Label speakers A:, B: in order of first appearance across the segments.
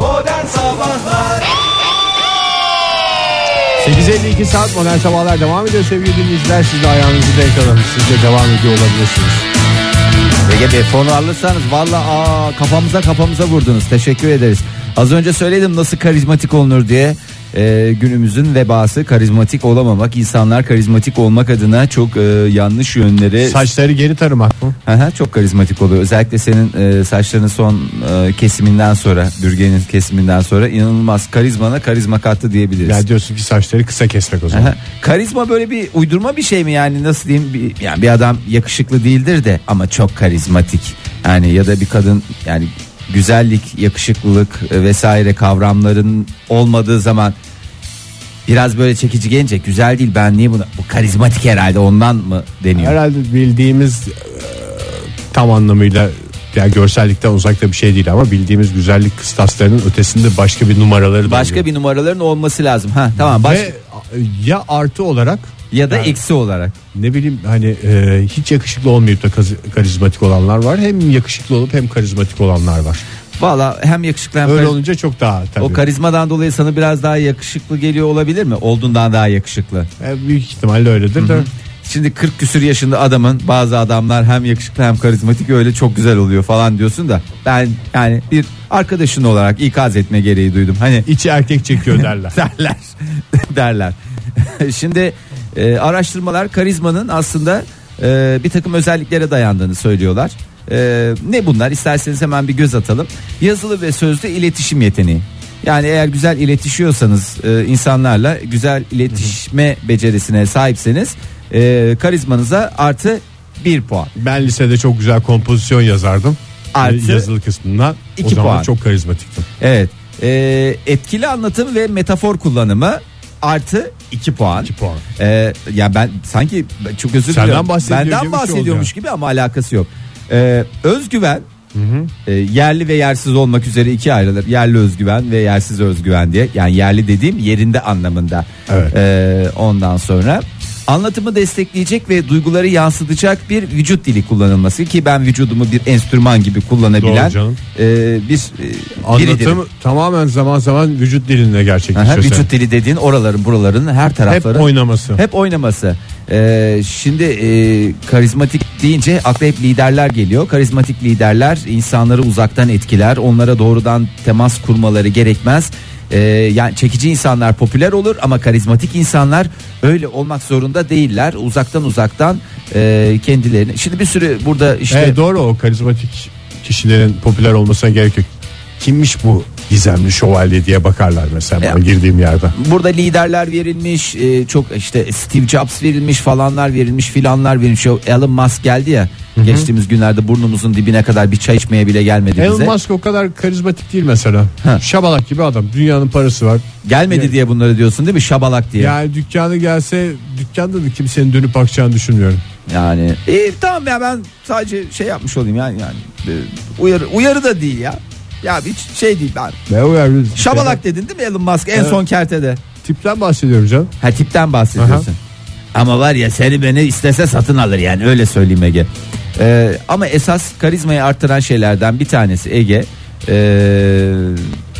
A: Modern Sabahlar
B: 8.52 saat modern sabahlar devam ediyor sevgili dinleyiciler. Siz de ayağınızı denk alın. Siz de devam ediyor olabilirsiniz.
C: Ege Bey fonu alırsanız valla aa, kafamıza kafamıza vurdunuz. Teşekkür ederiz. Az önce söyledim nasıl karizmatik olunur diye. Ee, günümüzün vebası karizmatik olamamak. İnsanlar karizmatik olmak adına çok e, yanlış yönlere
B: Saçları geri tarımak mı?
C: Hı hı, çok karizmatik oluyor. Özellikle senin e, saçlarının son e, kesiminden sonra, bürgenin kesiminden sonra inanılmaz karizmana karizma kattı diyebiliriz.
B: Ya diyorsun ki saçları kısa kesmek o zaman.
C: e, Aha. Karizma böyle bir uydurma bir şey mi yani nasıl diyeyim bir, yani bir adam yakışıklı değildir de ama çok karizmatik yani ya da bir kadın yani güzellik yakışıklılık e, vesaire kavramların olmadığı zaman biraz böyle çekici gelince güzel değil ben niye buna bu karizmatik herhalde ondan mı deniyor
B: Herhalde bildiğimiz e, tam anlamıyla yani görsellikten uzakta bir şey değil ama bildiğimiz güzellik kıstaslarının ötesinde başka bir numaraları da
C: başka
B: oluyor.
C: bir numaraların olması lazım ha tamam baş,
B: Ve e, ya artı olarak
C: ya da
B: yani
C: eksi olarak
B: ne bileyim hani e, hiç yakışıklı olmayıp da kaz- karizmatik olanlar var. Hem yakışıklı olup hem karizmatik olanlar var.
C: valla hem yakışıklı hem
B: Öyle
C: karizma-
B: olunca çok daha tabii.
C: o karizmadan dolayı sana biraz daha yakışıklı geliyor olabilir mi olduğundan daha yakışıklı
B: E, büyük ihtimalle öyledir de.
C: Şimdi 40 küsür yaşında adamın bazı adamlar hem yakışıklı hem karizmatik öyle çok güzel oluyor falan diyorsun da ben yani bir arkadaşın olarak ikaz etme gereği duydum. Hani
B: İçi erkek çekiyor derler.
C: derler derler. Şimdi e, araştırmalar karizmanın aslında e, bir takım özelliklere dayandığını söylüyorlar. E, ne bunlar? İsterseniz hemen bir göz atalım. Yazılı ve sözlü iletişim yeteneği. Yani eğer güzel iletişiyorsanız e, insanlarla güzel iletişme becerisine sahipseniz e, karizmanıza artı bir puan.
B: Ben lisede çok güzel kompozisyon yazardım.
C: Artı
B: Ee, yazılı kısmından o
C: iki
B: zaman
C: puan.
B: çok karizmatiktim.
C: Evet. E, etkili anlatım ve metafor kullanımı artı 2 puan.
B: 2 puan.
C: Ee, ya ben sanki ben çok özür
B: Senden
C: diliyorum.
B: bahsediyor gibi bir
C: Benden
B: şey
C: bahsediyormuş gibi ama alakası yok. Ee, özgüven e, yerli ve yersiz olmak üzere ikiye ayrılır. Yerli özgüven ve yersiz özgüven diye. Yani yerli dediğim yerinde anlamında.
B: Evet.
C: Ee, ondan sonra anlatımı destekleyecek ve duyguları yansıtacak bir vücut dili kullanılması ki ben vücudumu bir enstrüman gibi kullanabilen
B: Doğru canım.
C: e, bir e, biridirim.
B: Anlatım tamamen zaman zaman vücut dilinle gerçekleşiyor.
C: Aha,
B: senin.
C: vücut dili dediğin oraların buraların her
B: Hep
C: tarafları
B: oynaması. E,
C: hep oynaması. Ee, şimdi e, karizmatik deyince akla hep liderler geliyor. Karizmatik liderler insanları uzaktan etkiler. Onlara doğrudan temas kurmaları gerekmez. Ee, yani çekici insanlar popüler olur ama karizmatik insanlar öyle olmak zorunda değiller. Uzaktan uzaktan e, kendilerini. Şimdi bir sürü burada işte
B: Evet, doğru o karizmatik kişilerin popüler olmasına gerek yok. Kimmiş bu gizemli şövalye diye bakarlar mesela bana
C: Ya.
B: girdiğim yerde.
C: burada liderler verilmiş e, çok işte Steve Jobs verilmiş falanlar verilmiş filanlar verilmiş O Elon Musk geldi ya geçtiğimiz günlerde burnumuzun dibine kadar bir çay içmeye bile gelmedi bize
B: Elon Musk o kadar karizmatik değil mesela.
C: Ha.
B: Şabalak gibi adam. Dünyanın parası var.
C: gelmedi diye bunları diyorsun değil mi şabalak diye yani,
B: Yani dükkanı gelse dükkanda da kimsenin dönüp bakacağını düşünmüyorum.
C: E, tamam ya ben sadece şey yapmış olayım yani yani e, uyarı uyarı da değil ya ya hiç şey değil ben
B: Ne uyar
C: şabalak dedin değil mi Elon Musk en
B: Evet.
C: son kertede
B: Tipten bahsediyorum canım.
C: Ha tipten bahsediyorsun. Ama var ya seni beni istese satın alır yani öyle söyleyeyim Ege. Ee, ama esas karizmayı arttıran şeylerden bir tanesi Ege ee,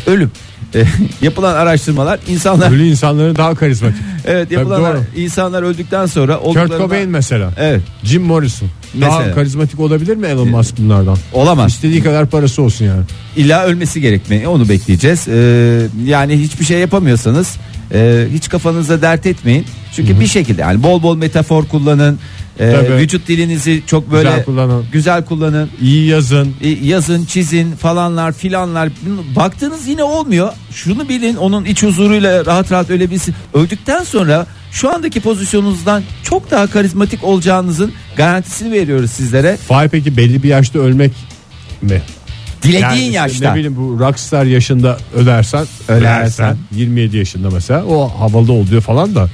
C: ölüm. Ee, yapılan araştırmalar insanlar
B: Ölü insanların daha karizmatik.
C: evet yapılan
B: Tabii doğru.
C: insanlar öldükten sonra
B: Kurt
C: olduklarında-
B: Cobain mesela.
C: evet
B: Jim Morrison. Daha
C: Mesela.
B: karizmatik olabilir mi Elon Musk bunlardan?
C: olamaz.
B: İstediği kadar parası olsun yani.
C: İlla ölmesi gerekmeyi onu bekleyeceğiz. Ee, yani hiçbir şey yapamıyorsanız e, hiç kafanıza dert etmeyin. Çünkü bir şekilde yani bol bol metafor kullanın. Ee,
B: Tabii.
C: vücut dilinizi çok böyle
B: Güzel kullanın.
C: güzel kullanın.
B: İyi yazın.
C: E, yazın çizin falanlar filanlar baktığınız yine olmuyor şunu bilin onun iç huzuruyla rahat rahat ölebilsin öldükten sonra şu andaki pozisyonunuzdan çok daha karizmatik olacağınızın garantisini veriyoruz sizlere
B: Fahir peki belli bir yaşta ölmek mi?
C: dilediğin
B: işte
C: yaşta
B: Ne bileyim bu rockstar yaşında ölersen.
C: Ölersen.
B: 27 yaşında mesela o havalı oluyor falan da.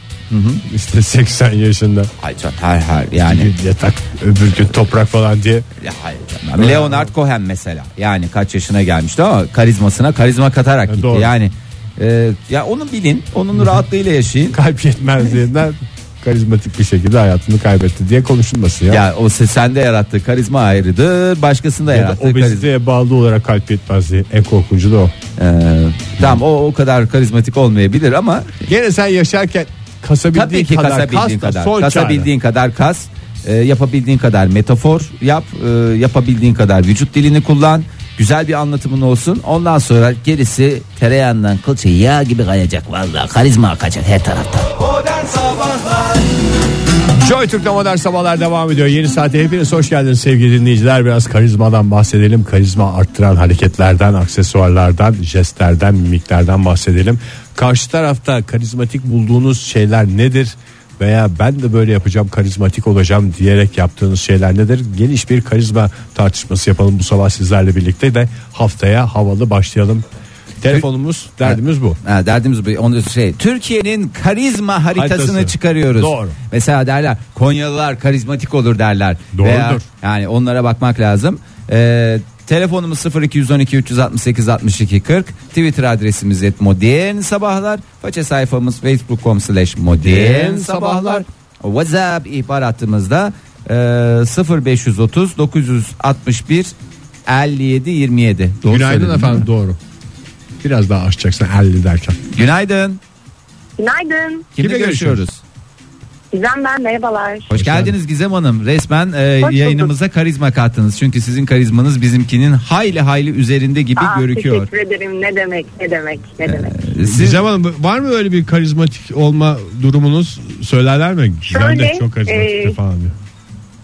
B: İşte 80 yaşında.
C: Ay canım, her her yani
B: Bir Hani yatak öbür gün toprak falan diye.
C: Ya, hayır canım. Leonard Cohen mesela yani kaç yaşına gelmişti ama karizmasına karizma katarak gitti e,
B: doğru.
C: yani e, ya onu bilin onun rahatlığıyla yaşayın
B: kalp yetmezliğinden karizmatik bir şekilde hayatını kaybetti diye konuşulmasın ya.
C: Ya o se- sende yarattığı karizma ayrıdır. Başkasında
B: ya da
C: yarattığı karizma.
B: obeziteye bağlı olarak kalp yetmezliği en korkuncu da o.
C: Ee, tamam o o kadar karizmatik olmayabilir ama
B: Gene sen yaşarken kasabildiğin
C: tabii ki
B: kadar
C: kasabildiğin
B: kas da
C: kadar,
B: son
C: kasabildiğin kadar kas, e, yapabildiğin kadar metafor yap, e, yapabildiğin kadar vücut dilini kullan. Güzel bir anlatımın olsun. Ondan sonra gerisi tereyağından kılçı yağ gibi kayacak vallahi. Karizma akacak her taraftan.
B: çare. Joy Türk'te modern sabahlar devam ediyor. Yeni saate hepiniz hoş geldiniz sevgili dinleyiciler. Biraz karizmadan bahsedelim. Karizma arttıran hareketlerden, aksesuarlardan, jestlerden, mimiklerden bahsedelim. Karşı tarafta karizmatik bulduğunuz şeyler nedir? Veya ben de böyle yapacağım karizmatik olacağım diyerek yaptığınız şeyler nedir? Geniş bir karizma tartışması yapalım bu sabah sizlerle birlikte de haftaya havalı başlayalım. Telefonumuz derdimiz bu.
C: Ha, derdimiz bu. Onu şey Türkiye'nin karizma haritasını
B: Haritası.
C: çıkarıyoruz.
B: Doğru.
C: Mesela derler Konyalılar karizmatik olur derler.
B: Doğrudur.
C: yani onlara bakmak lazım. Ee, telefonumuz 0212 368 62 40. Twitter adresimiz et modern sabahlar. Faça sayfamız facebook.com slash modern sabahlar. WhatsApp ihbar hattımızda e, 0530 961 57 27. Doğru söyledim
B: Günaydın
C: değil
B: efendim
C: mi?
B: doğru. Biraz daha aşacaksın 50 derken.
C: Günaydın.
A: Günaydın.
C: Kimle,
B: Kimle
C: görüşüyoruz?
B: görüşüyoruz?
A: Gizem ben merhabalar.
C: Hoş geldiniz Gizem Hanım. Resmen e,
A: bulduk.
C: yayınımıza karizma kattınız. Çünkü sizin karizmanız bizimkinin hayli hayli üzerinde gibi
A: Aa,
C: görüküyor. Ee,
A: Teşekkür ederim. Ne demek? Ne demek? Ne demek?
C: Siz
B: Gizem Hanım var mı öyle bir karizmatik olma durumunuz? Söylerler mi? Gizem de
A: Şöyle,
B: çok karizmatiktir
A: e,
B: falan diyor.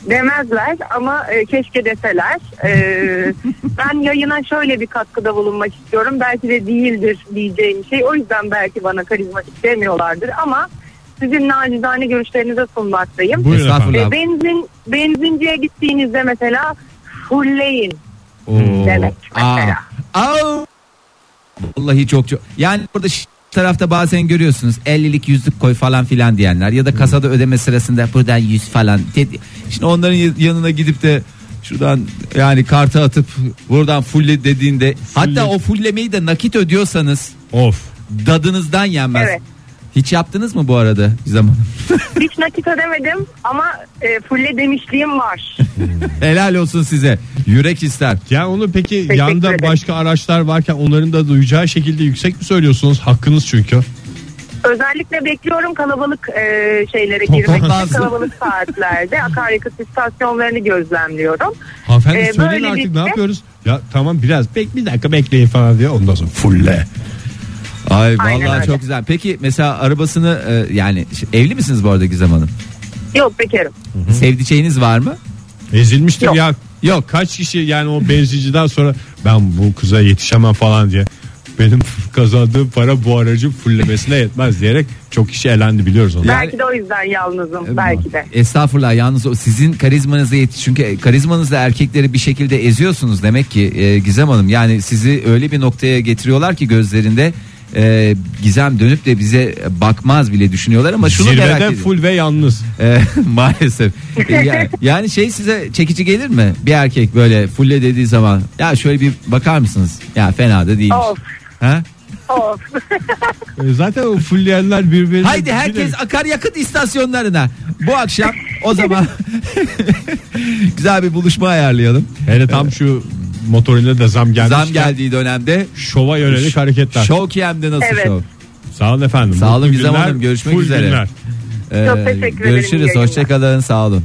A: Demezler ama e, keşke deseler. E, ben yayına şöyle bir katkıda bulunmak istiyorum. Belki de değildir diyeceğim şey. O yüzden belki bana karizmatik demiyorlardır ama sizin nacizane görüşlerinize sunmaktayım.
B: Buyurun
C: Estağfurullah.
B: efendim.
A: E, benzin benzinciye gittiğinizde mesela fulleyin.
C: Oo.
A: Demek
C: Aa.
A: mesela.
C: Au. Vallahi çok çok. Yani burada ş- tarafta bazen görüyorsunuz 50'lik yüzlük koy falan filan diyenler ya da
B: Hmm.
C: kasada ödeme sırasında buradan 100 falan dedi. Şimdi onların y- yanına gidip de şuradan yani kartı atıp buradan fulle dediğinde hatta o fullemeyi de nakit ödüyorsanız
B: Of.
C: dadınızdan yenmez.
A: Evet.
C: Hiç yaptınız mı bu arada Gizem Hanım?
A: Hiç nakit ödemedim ama e, fulle demişliğim var.
C: Helal olsun size. Yürek ister.
B: Ya onu peki yanda
A: ederim.
B: başka araçlar varken onların da duyacağı şekilde yüksek mi söylüyorsunuz? Hakkınız çünkü.
A: Özellikle bekliyorum kalabalık e, şeylere
B: Toplantı.
A: girmek için kalabalık saatlerde akaryakıt istasyonlarını gözlemliyorum.
B: Hanımefendi
A: Ee,
B: söyleyin
A: böylelikle-
B: artık ne yapıyoruz? Ya tamam biraz bek bir dakika bekleyin falan diyor. Ondan sonra fulle.
C: Ay
A: Aynen
C: vallahi
A: öyle.
C: çok güzel. Peki mesela arabasını e, yani ş- evli misiniz bu arada Gizem Hanım?
A: Yok bekarım.
C: Sevdiceğiniz var mı?
B: Ezilmiştir
A: Yok.
B: ya. Yok kaç kişi yani o benzinciden sonra ben bu kıza yetişemem falan diye benim kazandığım para bu aracın fullemesine yetmez diyerek çok kişi elendi biliyoruz onu.
C: Ya- Yani- E,
A: belki de o yüzden yalnızım belki de.
C: Estağfurullah yalnız o sizin karizmanıza yetiş. Çünkü karizmanızla erkekleri bir şekilde eziyorsunuz demek ki e, Gizem Hanım. Yani sizi öyle bir noktaya getiriyorlar ki gözlerinde e, Gizem dönüp de bize bakmaz bile düşünüyorlar ama şunu merak
B: Zirvede
C: ediyorum.
B: full ve yalnız.
C: E, maalesef. E, ya- yani şey size çekici gelir mi? Bir erkek böyle fulle dediği zaman ya şöyle bir bakar mısınız? Ya fena da değilmiş.
A: Of
C: Ha?
A: of.
B: E, Zaten o fullleyenler birbirine
C: Haydi herkes akaryakıt istasyonlarına. Bu akşam o zaman güzel bir buluşma ayarlayalım.
B: Hele tam şu motorine de zam gelmiş.
C: Zam geldiği dönemde
B: Şova yönelik hareketler.
C: Şov KM'de nasıl
A: Evet.
C: şov?
B: Sağ olun efendim.
C: Sağ olun
B: Mutlu
C: Gizem
B: günler,
C: Hanım, görüşmek
B: full
C: üzere.
B: günler.
A: Çok teşekkür ederim, iyi
C: Ee, Görüşürüz.
A: yayınlar.
C: Hoşçakalın. Sağ olun.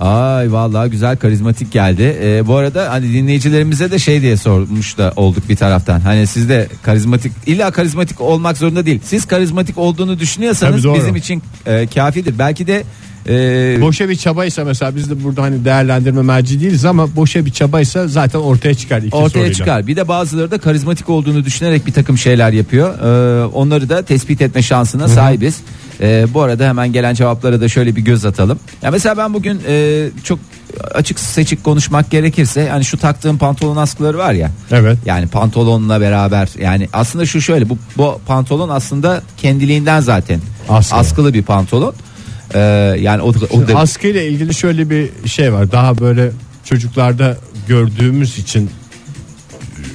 C: Ay vallahi güzel karizmatik geldi. Ee, bu arada hani dinleyicilerimize de şey diye sormuş da olduk bir taraftan. Hani siz de karizmatik illa karizmatik olmak zorunda değil. Siz karizmatik olduğunu
B: Tabii
C: düşünüyorsanız
B: doğru.
C: bizim için e, kafidir. Belki de e,
B: Boşa bir çabaysa mesela biz de burada hani değerlendirme merci değiliz ama boşa bir çabaysa zaten ortaya çıkar. iki
C: ortaya
B: soruyla.
C: çıkar. Bir de bazıları da karizmatik olduğunu düşünerek bir takım şeyler yapıyor. Ee, onları da tespit etme şansına sahibiz. Ee, bu arada hemen gelen cevaplara da şöyle bir göz atalım. Ya mesela ben bugün e, çok açık seçik konuşmak gerekirse hani şu taktığım pantolon askıları var ya.
B: Evet.
C: Yani pantolonla beraber yani aslında şu şöyle bu, bu pantolon aslında kendiliğinden zaten
B: Askı.
C: askılı bir pantolon. Ee, yani o, o da
B: Askıyla ilgili şöyle bir şey var. Daha böyle çocuklarda gördüğümüz için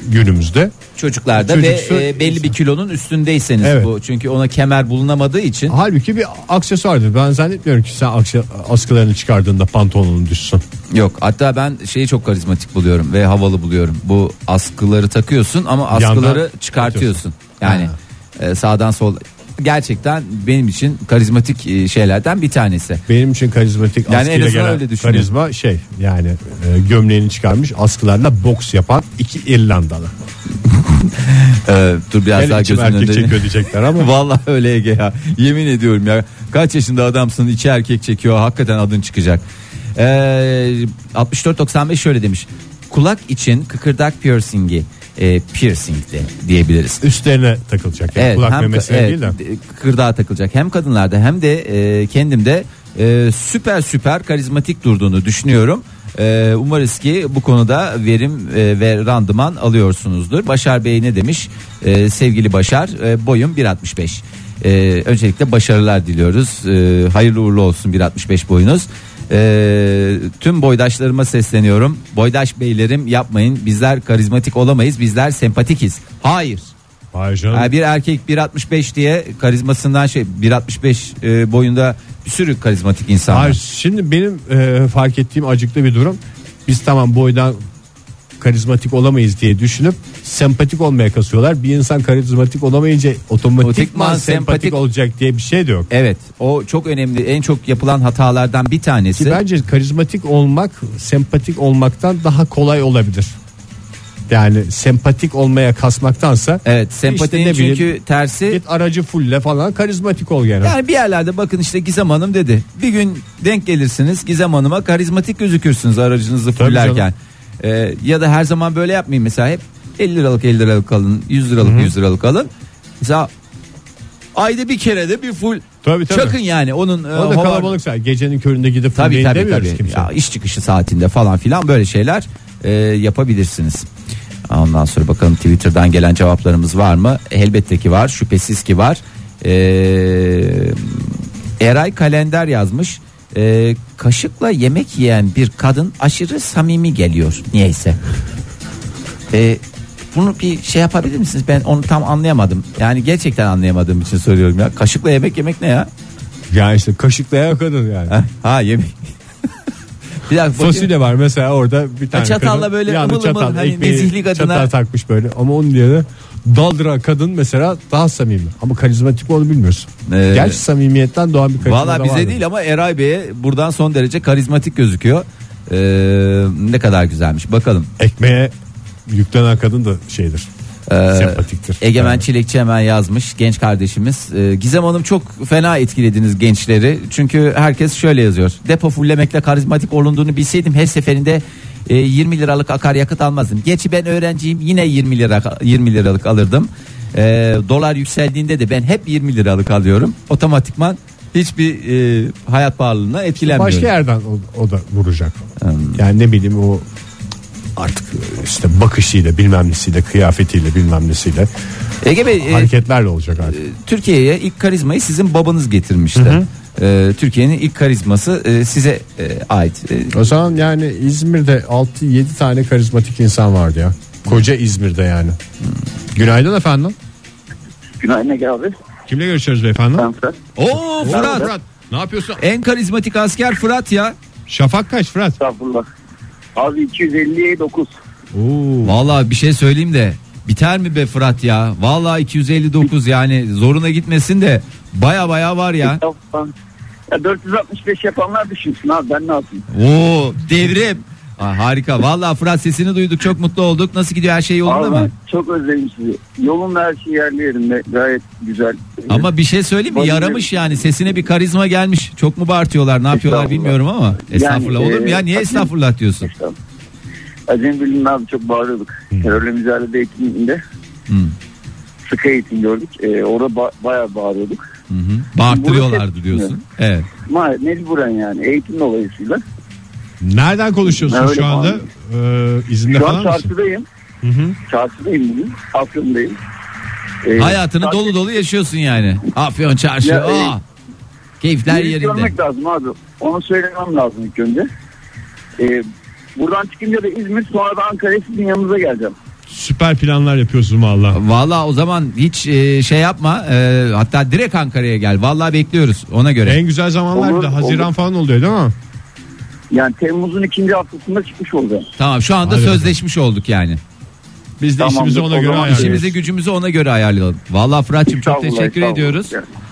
B: günümüzde.
C: Çocuklarda
B: Çocuksu-
C: ve e, belli bir kilonun üstündeyseniz
B: Evet.
C: bu. Çünkü ona kemer bulunamadığı için
B: Halbuki bir aksesuardır. Ben zannetmiyorum ki sen akse- askılarını çıkardığında pantolonun düşsün.
C: yok. Hatta ben şeyi çok karizmatik buluyorum ve havalı buluyorum. Bu askıları takıyorsun ama
B: Yandan
C: askıları çıkartıyorsun. Yani e, sağdan sol gerçekten benim için karizmatik e, şeylerden bir tanesi.
B: Benim için karizmatik
C: Yani en
B: askıyla
C: azından
B: gelen
C: öyle düşünüyorum.
B: karizma şey yani e, gömleğini çıkarmış askılarla boks yapan iki İrlandalı.
C: Ee, dur biraz
B: Yani
C: daha
B: içim
C: gözümün
B: erkek
C: önünde.
B: çekiyor diyecekler ama.
C: Vallahi öyle Ege ya. Yemin ediyorum ya. Kaç yaşında adamsın iki erkek çekiyor. Hakikaten adın çıkacak. Ee, 64.95 şöyle demiş. Kulak için kıkırdak piercingi. E, piercingli diyebiliriz.
B: Üstlerine takılacak. Yani kulak
C: hem-
B: memesine
C: evet,
B: değil de.
C: d- kıkırdağa takılacak. Hem kadınlarda hem de e, kendimde e, süper süper karizmatik durduğunu düşünüyorum. E, umarız ki bu konuda verim e, ve randıman alıyorsunuzdur. Başar Bey ne demiş? E, sevgili Başar, e, boyum 1.65. E, öncelikle başarılar diliyoruz. E, hayırlı uğurlu olsun 1.65 boyunuz. E, tüm boydaşlarıma sesleniyorum. Boydaş beylerim yapmayın. Bizler karizmatik olamayız. Bizler sempatikiz. Hayır.
B: Vay canım.
C: Ha, bir erkek 1.65 diye karizmasından şey 1.65 e, boyunda bir sürü karizmatik insan
B: Hayır,
C: var.
B: şimdi benim e, fark ettiğim acıklı bir durum. Biz tamam boydan karizmatik olamayız diye düşünüp sempatik olmaya kasıyorlar. Bir insan karizmatik olamayınca otomatikman
C: Otomatikman
B: sempatik,
C: sempatik
B: olacak diye bir şey de yok.
C: Evet o çok önemli en çok yapılan hatalardan bir tanesi.
B: Ki bence karizmatik olmak sempatik olmaktan daha kolay olabilir. Yani sempatik olmaya kasmaktansa
C: Evet sempatinin
B: İşte ne
C: çünkü
B: bileyim,
C: tersi.
B: git aracı fulle falan karizmatik ol yani.
C: Yani bir yerlerde bakın işte Gizem Hanım dedi. Bir gün denk gelirsiniz Gizem Hanım'a karizmatik gözükürsünüz aracınızı
B: Tabii
C: fullerken.
B: canım.
C: Ee, ya da her zaman böyle yapmayın mesela hep 50 liralık 50 liralık alın 100 liralık 100 liralık alın. Mesela ayda bir kere de bir full
B: Tabii, tabii.
C: çakın yani onun. e,
B: o da
C: havar-
B: kalabalık sen. Gecenin köründe gidip
C: Tabii
B: fulleyin
C: tabii
B: demiyoruz
C: tabii.
B: kimse.
C: Ya, iş çıkışı saatinde falan filan böyle şeyler e, yapabilirsiniz. Ondan sonra bakalım Twitter'dan gelen cevaplarımız var mı? Elbette ki var. Şüphesiz ki var. E, Eray Kalender yazmış. E, kaşıkla yemek yiyen bir kadın aşırı samimi geliyor. Niyeyse. E, bunu bir şey yapabilir misiniz? Ben onu tam anlayamadım. Yani gerçekten anlayamadığım için söylüyorum ya. Kaşıkla yemek yemek ne ya?
B: Ya işte kaşıklayan kadın yani.
C: Ha, ha yemek. bir dakika bakayım.
B: Fasulye var mesela orada bir tane
C: çatalla
B: kadın
C: böyle
B: yanında
C: ımıl ımıl hani nezihli kadına-
B: çatal takmış böyle ama onun yerine daldıran kadın mesela daha samimi ama karizmatik mi onu bilmiyorsun.
C: Ee,
B: Gerçi samimiyetten doğan bir karizma
C: Valla
B: da
C: bize
B: vardır.
C: değil ama Eray Bey'e buradan son derece karizmatik gözüküyor. Ee, ne kadar güzelmiş bakalım.
B: Ekmeğe yüklenen kadın da şeydir. sempatiktir.
C: Ee, Egemen
B: Yani.
C: Çilekçi hemen yazmış genç kardeşimiz. Ee, Gizem Hanım çok fena etkilediniz gençleri. Çünkü herkes şöyle yazıyor. Depo fullemekle karizmatik olunduğunu bilseydim her seferinde e, 20 liralık akaryakıt almazdım. Gerçi ben öğrenciyim yine 20 lira 20 liralık alırdım. Ee, dolar yükseldiğinde de ben hep 20 liralık alıyorum. Otomatikman hiçbir e, hayat pahalılığına etkilenmiyorum.
B: Başka yerden o, o da vuracak.
C: Hmm.
B: Yani ne bileyim o artık e, işte bakışıyla bilmem nesiyle kıyafetiyle bilmem nesiyle
C: Ege Bey, e,
B: hareketlerle olacak artık.
C: Türkiye'ye ilk karizmayı sizin babanız getirmişti. Ee, Türkiye'nin ilk karizması e, size e, ait. E,
B: O zaman yani İzmir'de 6-7 tane karizmatik insan vardı ya. Koca İzmir'de yani. Günaydın efendim.
D: Günaydın Ege abi.
B: Kimle görüşüyoruz beyefendi?
D: Ben Fırat.
C: Oo
B: Fırat.
C: Fırat.
B: Ne yapıyorsun?
C: En karizmatik asker Fırat ya.
B: Şafak kaç Fırat?
D: Estağfurullah. Abi 250'ye 9.
B: Oo.
C: Vallahi bir şey söyleyeyim de biter mi be Fırat ya? Vallahi 259 yani zoruna gitmesin de baya baya var ya.
D: Ya 465 yapanlar düşünsün abi ben ne yapayım?
C: Oo devrim. Aa, harika. Vallahi Fırat sesini duyduk çok mutlu olduk. Nasıl gidiyor her şey yolunda
D: Abi ben
C: mı?
D: çok özledim sizi. Yolun her şey yerli yerinde gayet güzel.
C: Ama bir şey söyleyeyim mi?
D: Bayılıyorum.
C: Yaramış yani. Sesine bir karizma gelmiş. Çok mu bağırtıyorlar? Ne yapıyorlar
D: Estağfurullah.
C: bilmiyorum ama. Estağfurullah
D: Yani,
C: olur mu
D: e,
C: ya? Niye
D: hakim-
C: estağfurullah diyorsun?
D: Estağfurullah. Acem Birliği'nin abi çok bağırıyorduk. Terörle mücadele eğitiminde
C: Hmm.
D: sıkı eğitim gördük. Ee, orada ba- bayağı bağırıyorduk.
C: Hı hı. Bağırtırıyorlardı
D: Bunu-
C: diyorsun. Evet.
D: Ma mecburen yani eğitim dolayısıyla.
B: Nereden konuşuyorsun
D: Öyle
B: şu anda?
D: bağlı.
B: Ee, izinde
D: Şu an
B: falan mısın?
D: çarşıdayım. Çarşıdayım bugün. Afyon'dayım. Ee,
C: Hayatını
D: çarşı-
C: dolu dolu yaşıyorsun yani. Afyon çarşı.
D: Ya, e,
C: aa. Keyifler
D: Yüzü
C: yerinde.
D: görmek lazım abi. Onu söylemem lazım ilk önce. Ee, buradan çıkınca da İzmir sonra da Ankara'ya sizin yanınıza geleceğim.
B: Süper planlar yapıyorsun valla.
C: Valla o zaman hiç e, şey yapma. E, hatta direkt Ankara'ya gel. Valla bekliyoruz ona göre.
B: En güzel zamanlar bir de
D: Olur,
B: Haziran
D: olur.
B: falan oluyor değil mi?
D: Yani Temmuz'un ikinci haftasında çıkmış olacağım.
C: Tamam şu anda
B: Hadi
C: sözleşmiş olduk yani.
B: Biz de
D: Tamamdır,
B: işimizi ona
D: o
B: göre
D: zaman
B: ayarlıyoruz.
C: İşimizi gücümüzü ona göre ayarlayalım. Valla Fırat'cığım çok
D: Estağfurullah,
C: teşekkür
D: estağfurullah.
C: ediyoruz.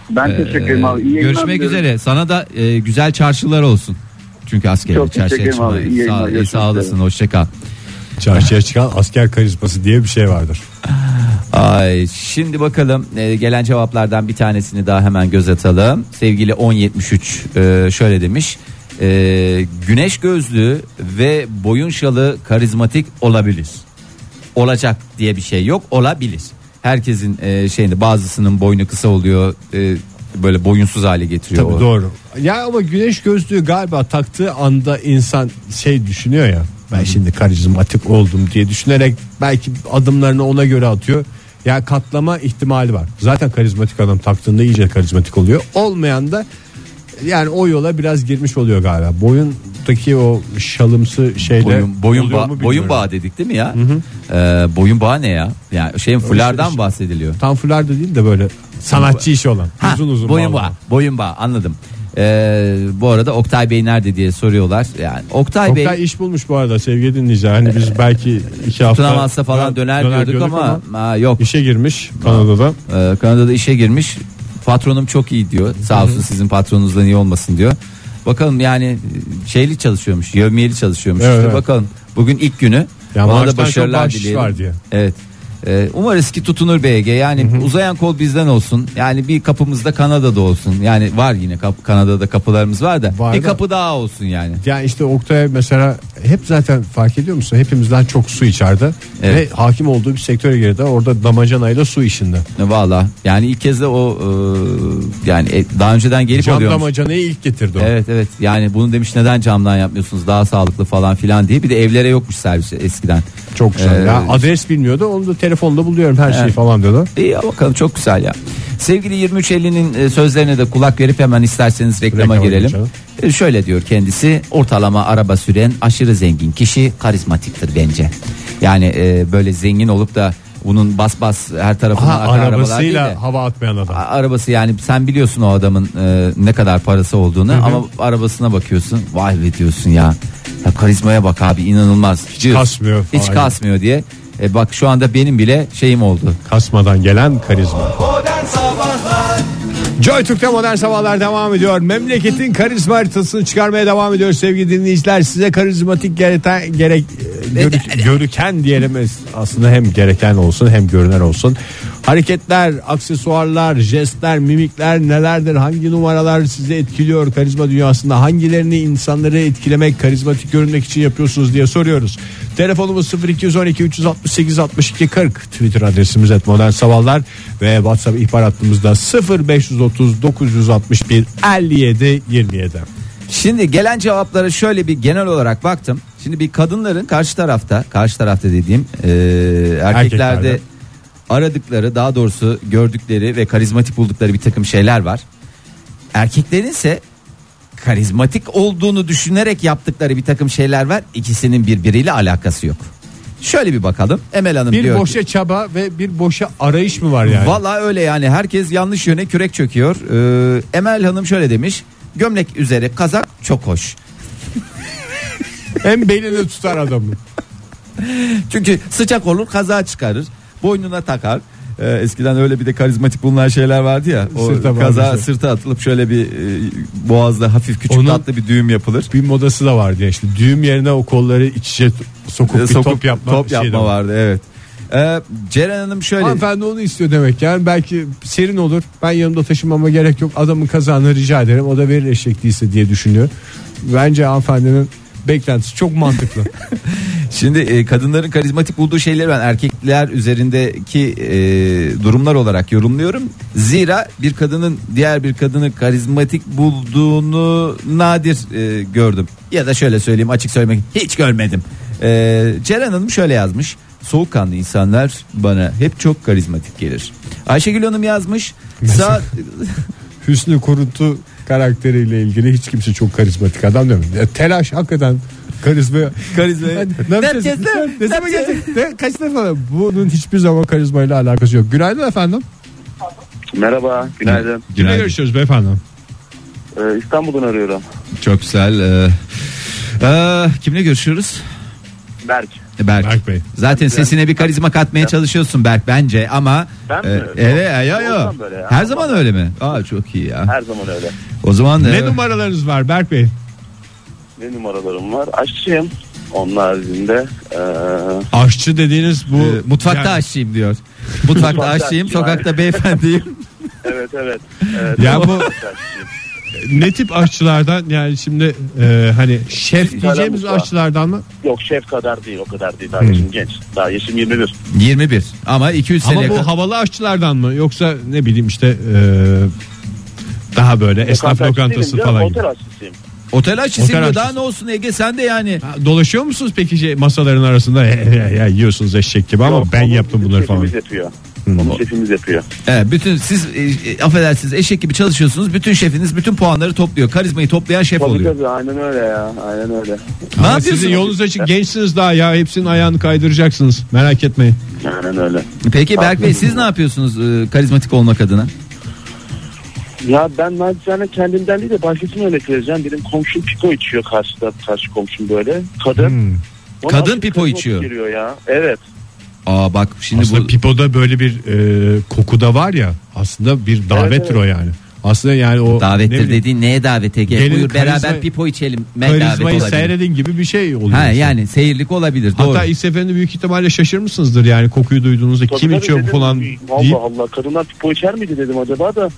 D: Ben teşekkür ederim abi. İyi
C: Ee,
D: yayınlar
C: görüşmek
D: diliyorum.
C: üzere. Sana da e, güzel çarşılar olsun. Çünkü asker
D: Çok teşekkür ederim abi. İyi yayınlar,
C: Sağ,
D: görüşmek
C: sağ olasın.
D: üzere.
C: Hoşça kal.
B: Çarşıya çıkan asker karizması diye bir şey vardır.
C: Ay, şimdi bakalım e, gelen cevaplardan bir tanesini daha hemen göz atalım. Sevgili 1073 e, şöyle demiş. E, güneş gözlü ve boyun şalı karizmatik olabilir. Olacak diye bir şey yok olabilir. Herkesin e, şeyinde bazısının boynu kısa oluyor e, böyle boyunsuz hale getiriyor.
B: Tabii
C: o.
B: doğru. Ya ama güneş gözlüğü galiba taktığı anda insan şey düşünüyor ya. Ben şimdi karizmatik oldum diye düşünerek belki adımlarını ona göre atıyor. Ya katlama ihtimali var. Zaten karizmatik adam taktığında iyice karizmatik oluyor. Olmayan da yani o yola biraz girmiş oluyor galiba. Boyundaki o şalımsı şeyle
C: Boyun, boyun,
B: oluyor
C: bağ,
B: mu bilmiyorum.
C: boyun bağı dedik değil mi ya? E, boyun bağı ne ya? Yani şeyin fulardan bahsediliyor.
B: Tam fular da değil de böyle sanatçı işi olan.
C: Ha,
B: uzun uzun
C: boyun
B: bağlı.
C: bağı, boyun bağı anladım. Ee, bu arada Oktay Bey nerede diye soruyorlar. Yani Oktay,
B: Oktay
C: Bey
B: iş bulmuş bu arada sevgili dinleyiciler. Hani biz belki iki hafta
C: tutunamazsa falan döner, diyorduk ama, ha, yok.
B: işe girmiş Kanada'da.
C: Ee, Kanada'da işe girmiş. Patronum çok iyi diyor. Sağ olsun sizin patronunuzdan iyi olmasın diyor. Bakalım yani e, şeyli çalışıyormuş. Yevmiyeli çalışıyormuş.
B: Evet,
C: İşte
B: evet.
C: bakalım. Bugün ilk günü.
B: Ya
C: Ona
B: maaştan
C: da
B: çok
C: başarılar
B: bahşiş
C: dileyelim.
B: var diye.
C: Evet. Ee, umarız ki tutunur BG. Yani uzayan kol bizden olsun. Yani bir kapımızda Kanada'da olsun. Yani var yine kap- Kanada'da kapılarımız var da.
B: Var
C: bir
B: da-
C: kapı daha olsun yani.
B: Yani işte Oktay mesela hep zaten fark ediyor musun? Hepimizden çok su içerdi.
C: Evet.
B: Ve hakim olduğu bir sektöre girdi. Orada damacanayla su işinde.
C: Valla yani ilk kez de o e, yani e, daha önceden gelip
B: Cam
C: alıyormuş.
B: damacanayı ilk getirdi o.
C: Evet evet yani bunu demiş neden camdan yapmıyorsunuz daha sağlıklı falan filan diye bir de evlere yokmuş servis eskiden.
B: Çok güzel.
C: Ee,
B: ya adres bilmiyordu. Onu da telefonda buluyorum her şeyi
C: Evet.
B: falan diyordu.
C: İyi ya bakalım çok güzel ya. Sevgili 2350'nin e, sözlerine de kulak verip hemen isterseniz reklama
B: Reklama
C: girelim.
B: geçelim.
C: E, Şöyle diyor kendisi ortalama araba süren aşırı zengin kişi karizmatiktir bence. Yani e, böyle zengin olup da bunun bas bas her tarafına
B: Aha,
C: akan arabalar değil de-
B: arabasıyla hava atmayan adam.
C: A- arabası yani sen biliyorsun o adamın e, ne kadar parası olduğunu ama arabasına bakıyorsun vay be diyorsun ya. ya karizmaya bak abi inanılmaz hiç
B: kasmıyor falan.
C: hiç kasmıyor diye E, bak şu anda benim bile şeyim oldu
B: Kasmadan gelen karizma. Joy Türk'te modern sabahlar devam ediyor. Memleketin karizma haritasını çıkarmaya devam ediyor sevgili dinleyiciler. Size karizmatik gereken, gerek, görük- görüken diyelim aslında hem gereken olsun hem görünen olsun. Hareketler, aksesuarlar, jestler, mimikler nelerdir? Hangi numaralar sizi etkiliyor karizma dünyasında? Hangilerini insanları etkilemek, karizmatik görünmek için yapıyorsunuz diye soruyoruz. Telefonumuz 0212 368 62 40. Twitter adresimiz et modern sabahlar ve WhatsApp ihbar hattımızda 0530 961 57 27.
C: Şimdi gelen cevaplara şöyle bir genel olarak baktım. Şimdi bir kadınların karşı tarafta, karşı tarafta dediğim e, erkeklerde
B: Erkeklerde.
C: aradıkları, daha doğrusu gördükleri ve karizmatik buldukları bir takım şeyler var. Erkeklerin ise karizmatik olduğunu düşünerek yaptıkları bir takım şeyler var. İkisinin birbiriyle alakası yok. Şöyle bir bakalım. Emel Hanım
B: Bir
C: diyor ki-
B: boşa çaba ve bir boşa arayış mı var yani?
C: Valla öyle yani herkes yanlış yöne kürek çöküyor. Ee, Emel Hanım şöyle demiş. Gömlek üzere kazak çok hoş.
B: Hem belini tutar adamı.
C: Çünkü sıcak olur kaza çıkarır. Boynuna takar. Ee, eskiden öyle bir de karizmatik bulunan şeyler vardı ya. O
B: Sırta
C: kaza
B: bağlısı.
C: sırta atılıp şöyle bir e, boğazda hafif küçük
B: Onun-
C: tatlı bir düğüm yapılır.
B: Bir modası da vardı ya işte düğüm yerine o kolları iç içe sokup
C: Ee,
B: bir
C: sokup
B: top yapma,
C: top
B: şeyi de
C: yapma
B: var.
C: vardı evet. Ee, Ceren Hanım şöyle
B: Hanımefendi onu istiyor demek yani belki serin olur ben yanımda taşımama gerek yok adamın kazağını rica ederim o da verir eşek değilse diye düşünüyor. Bence hanımefendinin beklentisi çok mantıklı.
C: Şimdi e, kadınların karizmatik bulduğu şeyleri ben erkekler üzerindeki e, durumlar olarak yorumluyorum. Zira bir kadının diğer bir kadını karizmatik bulduğunu nadir e, gördüm. Ya da şöyle söyleyeyim açık söylemek hiç görmedim. E, Ceren Hanım şöyle yazmış. Soğukkanlı insanlar bana hep çok karizmatik gelir. Ayşegül Hanım yazmış. Saat
B: Hüsnü Kuruntu karakteriyle ilgili hiç kimse çok karizmatik adam demiyor. Ya telaş hakikaten Karizma.
C: Karizma.
B: Ne
C: yapacağız?
B: yapacağız? Ne
C: Ne
B: zaman
C: yapacağız?
B: gelecek? Ne- Kaç defa? Bunun hiçbir zaman karizmayla alakası yok. Günaydın efendim.
D: Merhaba, günaydın.
B: Kimle görüşüyoruz beyefendi?
D: Ee, İstanbul'dan arıyorum.
C: Çok güzel. Ee, ee, kimle görüşüyoruz?
D: Berk.
C: E, Berk.
B: Berk Bey.
C: Zaten sesine bir karizma katmaya çalışıyorsun Berk bence ama
D: Ben mi?
C: e,
D: Yok.
C: evet ya
D: O
C: ya.
D: zaman böyle ya.
C: Her zaman öyle mi? Aa çok iyi ya.
D: Her zaman öyle.
C: O zaman e,
B: Ne numaralarınız var Berk Bey?
D: Ne numaralarım var? Aşçıyım. Onun haricinde ee, eee
B: Aşçı dediğiniz bu
C: e, mutfakta
B: yani,
C: aşçıyım diyor. Mutfakta aşçıyım,
D: aşçıyım,
C: sokakta beyefendiyim.
D: evet evet. Ee, evet
B: Ya bu-
D: Aşçıyım.
B: Ne tip aşçılardan yani şimdi e, hani şef diyeceğimiz
D: mutfağı.
B: aşçılardan mı?
D: Yok şef kadar değil o kadar değil. Daha yaşım genç. Daha yaşım 21.
C: 21 ama 200
B: Ama
C: sene
B: bu havalı aşçılardan mı yoksa ne bileyim işte e, daha böyle esnaf
D: Lokanta
B: lokantası
D: aşçı değilim canım,
B: falan gibi.
D: Otel aşçısıyım.
C: otel aşçısıyım
B: Otel
C: diyor. Daha
B: aşçısı.
C: ne olsun Ege sen de yani.
B: Ha, Dolaşıyor musunuz peki şey, masaların arasında ya, ya, ya, yiyorsunuz eşek gibi ama
D: Yok,
B: ben
D: onu
B: yaptım
D: bizim
B: bunları
D: şey-
B: falan. Hmm.
D: Şefimiz yapıyor. Onu şefimiz yapıyor.
C: Evet, bütün siz e, e, affedersiniz eşek gibi çalışıyorsunuz. Bütün şefiniz bütün puanları topluyor. Karizmayı toplayan şef
D: Tabii
C: oluyor.
D: tabii aynen öyle ya. Aynen öyle.
C: Ne
B: Ama Sizin
C: yapıyorsunuz?
B: yolunuz açık gençsiniz daha ya hepsinin ayağını kaydıracaksınız merak etmeyin.
D: Aynen öyle.
C: Peki Berk Bey siz ne yapıyorsunuz e, karizmatik olmak adına?
D: Ya ben nacizane kendimden değil de başkasını örnek vereceğim. Benim komşum piko içiyor karşıda karşı komşum böyle. Kadın.
B: Hmm.
D: Ona
C: Kadın
D: aşırı
C: pipo
D: karizma
C: içiyor.
D: Geliyor ya. Evet.
C: Aa bak şimdi
B: aslında
C: bu
B: pipoda böyle bir e, koku da var ya aslında bir davettir o yani. Aslında yani o ne
C: Davettir
B: bileyim,
C: dediğin neye davet Ege?
B: Gelin
C: Buyur
B: karizma-
C: beraber pipo içelim. Ben davet
B: karizmayı
C: olabilir.
B: seyredin gibi bir şey oluyor.
C: Ha
B: işte.
C: yani seyirlik olabilir doğru.
B: Hatta ilk seferinde büyük ihtimalle şaşırmışsınızdır yani kokuyu duyduğunuzda
D: Tabii
B: kim
D: tabii
B: içiyor bu
D: dedim,
B: falan
D: Allah
B: deyip
D: Allah kadınlar pipo içer miydi dedim acaba da.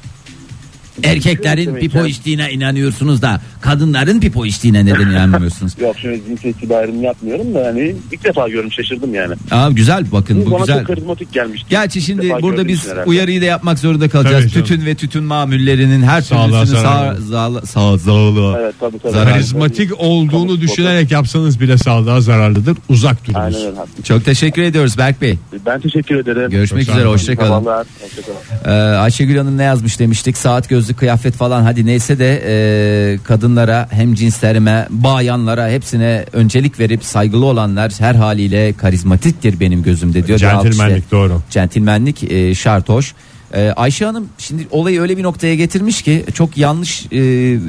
C: Erkeklerin
D: Demek
C: pipo
D: ya.
C: içtiğine inanıyorsunuz da kadınların pipo içtiğine neden inanmıyorsunuz?
D: Yok şimdi cinsiyetçi bir ayrım yapmıyorum da hani ilk defa gördüm şaşırdım yani.
C: Aa güzel bakın bu
D: Bana
C: güzel.
D: çok karizmatik gelmişti.
C: Gerçi
D: İlk
C: şimdi
D: defa
C: burada
D: gördüğüm
C: biz
D: için herhalde.
C: uyarıyı da yapmak zorunda kalacağız.
B: Tabii canım.
C: Tütün ve tütün mamullerinin her
B: Sağlığa
C: türlüsünü sağ
B: zarar
C: sağ sağ sağlığa.
D: Evet tabii tabii.
C: Zararlı.
B: karizmatik olduğunu düşünerek yapsanız bile sağlığa zararlıdır uzak
D: Aynen
B: durunuz.
D: öyle. haklısın.
C: Çok teşekkür ediyoruz Berk Bey.
D: Ben teşekkür ederim.
C: Görüşmek
B: Çok
C: üzere
B: sağ olun.
C: hoşçakalın.
D: Sabahlar, Hoşçakalın.
C: Ee, Ayşegül Hanım ne yazmış demiştik saat gözlü kıyafet falan hadi neyse de e, kadınlara hem cinslerime bayanlara hepsine öncelik verip saygılı olanlar her haliyle karizmatiktir benim gözümde diyor. Bir alkışla-
B: Centilmenlik doğru.
C: Centilmenlik e, şart hoş. E, Ayşe Hanım şimdi olayı öyle bir noktaya getirmiş ki çok yanlış e,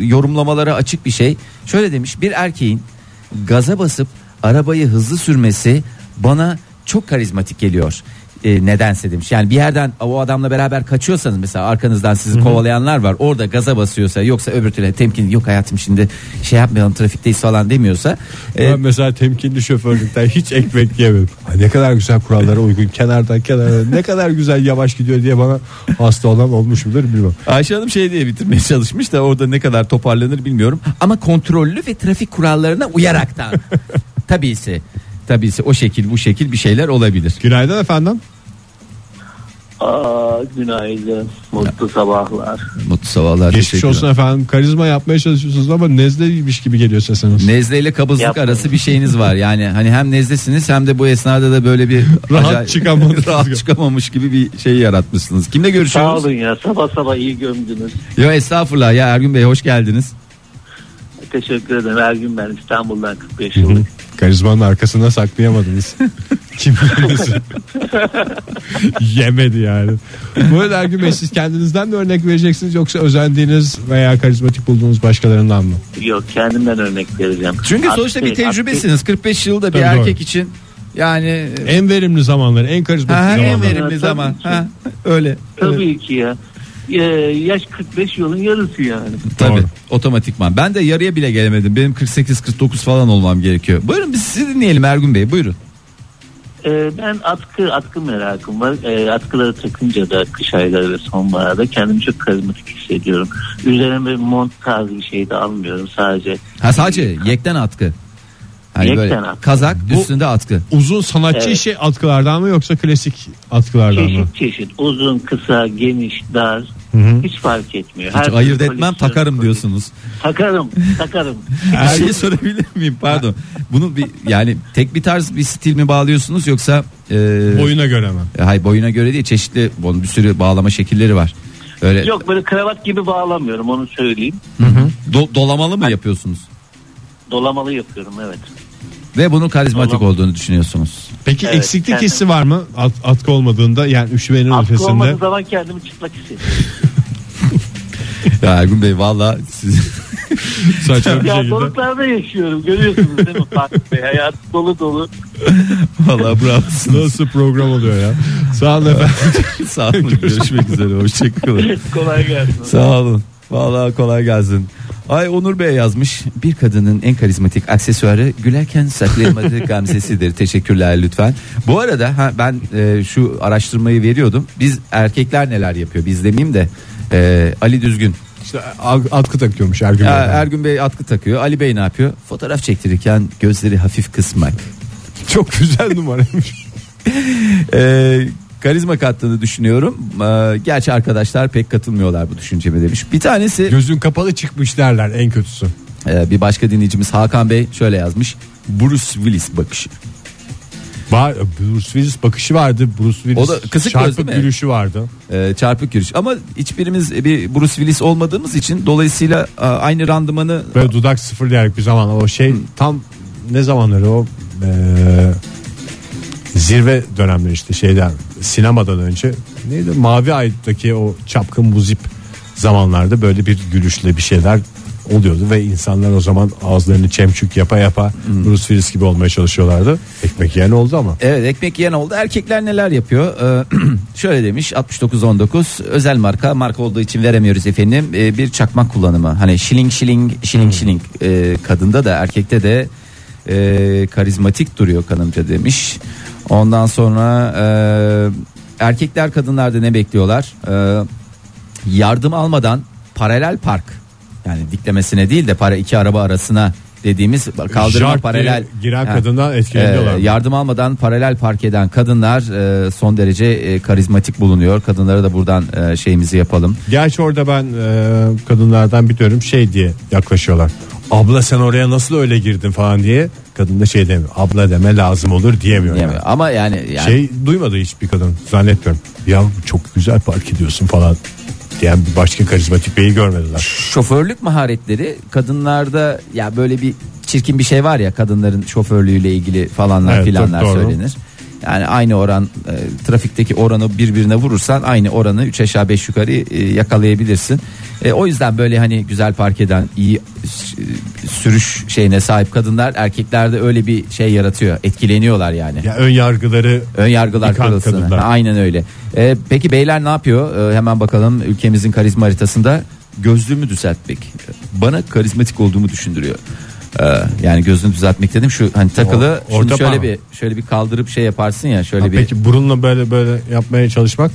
C: yorumlamalara açık bir şey. Şöyle demiş bir erkeğin gaza basıp arabayı hızlı sürmesi bana çok karizmatik geliyor. E, nedense demiş. Yani bir yerden o adamla beraber kaçıyorsanız mesela arkanızdan sizi kovalayanlar var. Orada gaza basıyorsa yoksa öbür türlü temkin yok hayatım şimdi şey yapmayalım trafikteyiz falan demiyorsa. e,
B: Ben mesela temkinli şoförlükten hiç ekmek yemedim. Ay Ne kadar güzel kurallara uygun kenardan kenara ne kadar güzel yavaş gidiyor diye bana hasta olan olmuş mudur bilmem.
C: Ayşe Hanım şey diye bitirmeye çalışmış da orada ne kadar toparlanır bilmiyorum. Ama kontrollü ve trafik kurallarına uyaraktan. Tabisi. Tabisi o şekil bu şekil bir şeyler olabilir.
B: Günaydın efendim.
E: Aa, günaydın. Mutlu sabahlar.
C: Mutlu sabahlar.
B: Geçmiş olsun efendim. Karizma yapmaya çalışıyorsunuz ama nezleymiş gibi geliyor sesiniz.
C: Nezle ile kabızlık
E: Yapmayın.
C: arası bir şeyiniz var. Yani hani hem nezlesiniz hem de bu esnada da böyle bir
B: Rahat çıkamadınız.
C: rahat çıkamamış gibi bir şey yaratmışsınız. Kimle
E: Sağ
C: görüşüyoruz?
E: olun ya sabah sabah iyi gömdünüz.
C: Yo estağfurullah ya Ergün Bey hoş geldiniz.
E: Teşekkür ederim. Her gün ben İstanbul'dan 45 yıllık.
B: Karizmanın arkasına saklayamadınız. Kim bilir sizi. Yemedi yani. Bu arada Ergün Bey siz kendinizden mi örnek vereceksiniz yoksa özendiğiniz veya karizmatik bulduğunuz başkalarından mı?
E: Yok kendimden örnek vereceğim.
C: Çünkü
E: Aksi-
C: sonuçta bir
E: aksi-
C: tecrübesiniz. 45 yılda bir
B: Tabii, doğru.
C: erkek için yani
B: En verimli zamanları, en karizmatik
C: Ha, en
B: zamanları.
C: verimli
E: Tabii
C: zaman.
E: ki.
C: Ha, öyle.
E: Tabii ki ya. Ee, yaş 45 yılın yarısı yani.
C: Tabii.
B: Doğru.
C: Otomatikman. Ben de yarıya bile gelemedim. Benim 48 49 falan olmam gerekiyor. Buyurun biz sizi dinleyelim Ergun Bey. Buyurun.
E: Ee, ben atkı atkı merakım var. Ee, atkıları takınca da kış ayları ve sonbaharda kendimi çok karizmatik hissediyorum. Üzerime bir mont tarzı bir şey de almıyorum sadece.
C: Ha sadece yekten atkı. Hani
E: Yekten
C: böyle
E: atkı.
C: kazak
B: Bu-
C: üstünde atkı.
B: Uzun sanatçı
E: Evet.
B: işi atkılardan mı yoksa klasik atkılardan mı?
E: Çeşit çeşit uzun kısa geniş dar hiç fark etmiyor.
C: Hiç
E: Her
C: ayırt
E: türlü
C: etmem
E: koleksiyon-
C: takarım diyorsunuz.
E: Takarım takarım.
C: Bir şey sorabilir miyim? Pardon. Bunu bir yani tek bir tarz bir stil mi bağlıyorsunuz yoksa e,
B: Boyuna göre mi?
C: hay boyuna göre değil çeşitli bunun bir sürü bağlama şekilleri var. Öyle
E: Yok böyle kravat gibi bağlamıyorum onu söyleyeyim.
C: do- dolamalı mı yapıyorsunuz?
E: dolamalı yapıyorum evet.
C: Ve bunun karizmatik
E: Tamam.
C: olduğunu düşünüyorsunuz.
B: Peki
E: Evet,
B: eksiklik
E: kendim-
B: hissi var mı? At, atkı olmadığında yani üşümenin
E: Atkı
B: ötesinde.
E: olmadığı zaman kendimi çıplak hissediyorum.
C: Ya Ergun Bey valla siz...
B: Saçma bir
E: Ya
B: şekilde.
E: doruklarda yaşıyorum görüyorsunuz değil mi Fatih Bey? Hayat dolu dolu.
C: valla bravosunuz.
B: Nasıl program oluyor ya? Sağ olun efendim.
C: Sağ olun. Görüşmek üzere. Hoşçakalın.
E: Kolay gelsin.
C: Sağ olun. Valla kolay gelsin. Ay Onur Bey yazmış. Bir kadının en karizmatik aksesuarı gülerken saklayamadığı gamzesidir. Teşekkürler lütfen. Bu arada ha, ben e, şu araştırmayı veriyordum. Biz erkekler neler yapıyor? Biz demeyeyim de e, Ali Düzgün.
B: İşte atkı takıyormuş Ergün
C: Ya,
B: Bey'den.
C: Ergün Bey atkı takıyor. Ali Bey ne yapıyor? Fotoğraf çektirirken gözleri hafif kısmak.
B: Çok güzel numaraymış.
C: E, karizma kattığını düşünüyorum. E, gerçi arkadaşlar pek katılmıyorlar bu düşünceme demiş. Bir tanesi
B: Gözün kapalı çıkmış derler en kötüsü.
C: Ee, bir başka dinleyicimiz Hakan Bey şöyle yazmış. Bruce Willis bakışı.
B: Var, Bruce Willis bakışı vardı. Bruce Willis
C: O da kısık göz
B: çarpık
C: değil mi?
B: gülüşü vardı.
C: Ee, çarpık yürüyüş. Ama hiçbirimiz bir Bruce Willis olmadığımız için dolayısıyla e, aynı randımanı
B: Böyle dudak sıfırlayarak bir zaman o şey tam ne zamanları o eee, zirve dönemleri işte şeyden sinemadan önce neydi Mavi Ay'daki o çapkın buzip zamanlarda böyle bir gülüşle bir şeyler oluyordu ve insanlar o zaman ağızlarını çemçük yapa yapa Bruce Willis gibi olmaya çalışıyorlardı. Ekmek yiyen oldu ama.
C: Evet ekmek yiyen oldu. Erkekler neler yapıyor? Ee, şöyle demiş 6919 özel marka marka olduğu için veremiyoruz efendim. Ee, bir çakmak kullanımı. Hani şiling şiling
B: Hmm.
C: şiling şiling Ee, kadında da erkekte de e, karizmatik duruyor kanımca demiş. Ondan sonra e, erkekler kadınlarda ne bekliyorlar? Ee, yardım almadan paralel park yani diklemesine değil de para iki araba arasına dediğimiz kaldırma
B: Jart
C: paralel
B: diye giren
C: Ha.
B: kadından etkileniyorlar.
C: Ee, yardım almadan paralel park eden kadınlar e, son derece e, karizmatik bulunuyor. Kadınlara da buradan e, şeyimizi yapalım.
B: Gerçi orada ben e, kadınlardan bir dönüm şey diye yaklaşıyorlar. Abla sen oraya nasıl öyle girdin falan diye. Kadın da şey demiyor. Abla deme lazım olur diyemiyor. yani.
C: Diyemiyorum. Ama yani, yani
B: Şey duymadı hiçbir kadın zannetmiyorum. Ya çok güzel park ediyorsun falan diyen bir başka karizmatik beyi görmediler.
C: şoförlük maharetleri kadınlarda ya böyle bir çirkin bir şey var ya kadınların şoförlüğüyle ilgili falanlar
B: Evet,
C: filanlar
B: çok doğru.
C: söylenir. Yani aynı oran e, trafikteki oranı birbirine vurursan aynı oranı 3 aşağı 5 yukarı e, yakalayabilirsin. E, o yüzden böyle hani güzel park eden iyi e, sürüş şeyine sahip kadınlar erkeklerde öyle bir şey yaratıyor. Etkileniyorlar yani.
B: Ya ön yargıları
C: Ön yargılar
B: Yıkan
C: kırılsın.
B: kadınlar.
C: Ha, Aynen öyle. E, peki beyler ne yapıyor? E, hemen bakalım ülkemizin karizma haritasında gözlüğümü düzeltmek bana karizmatik olduğumu düşündürüyor. E, yani gözünü düzeltmek dedim şu hani takılı
B: O- orta
C: şunu şöyle
B: parmak.
C: bir şöyle bir kaldırıp şey yaparsın ya şöyle
B: Ha,
C: bir.
B: peki burunla böyle böyle yapmaya çalışmak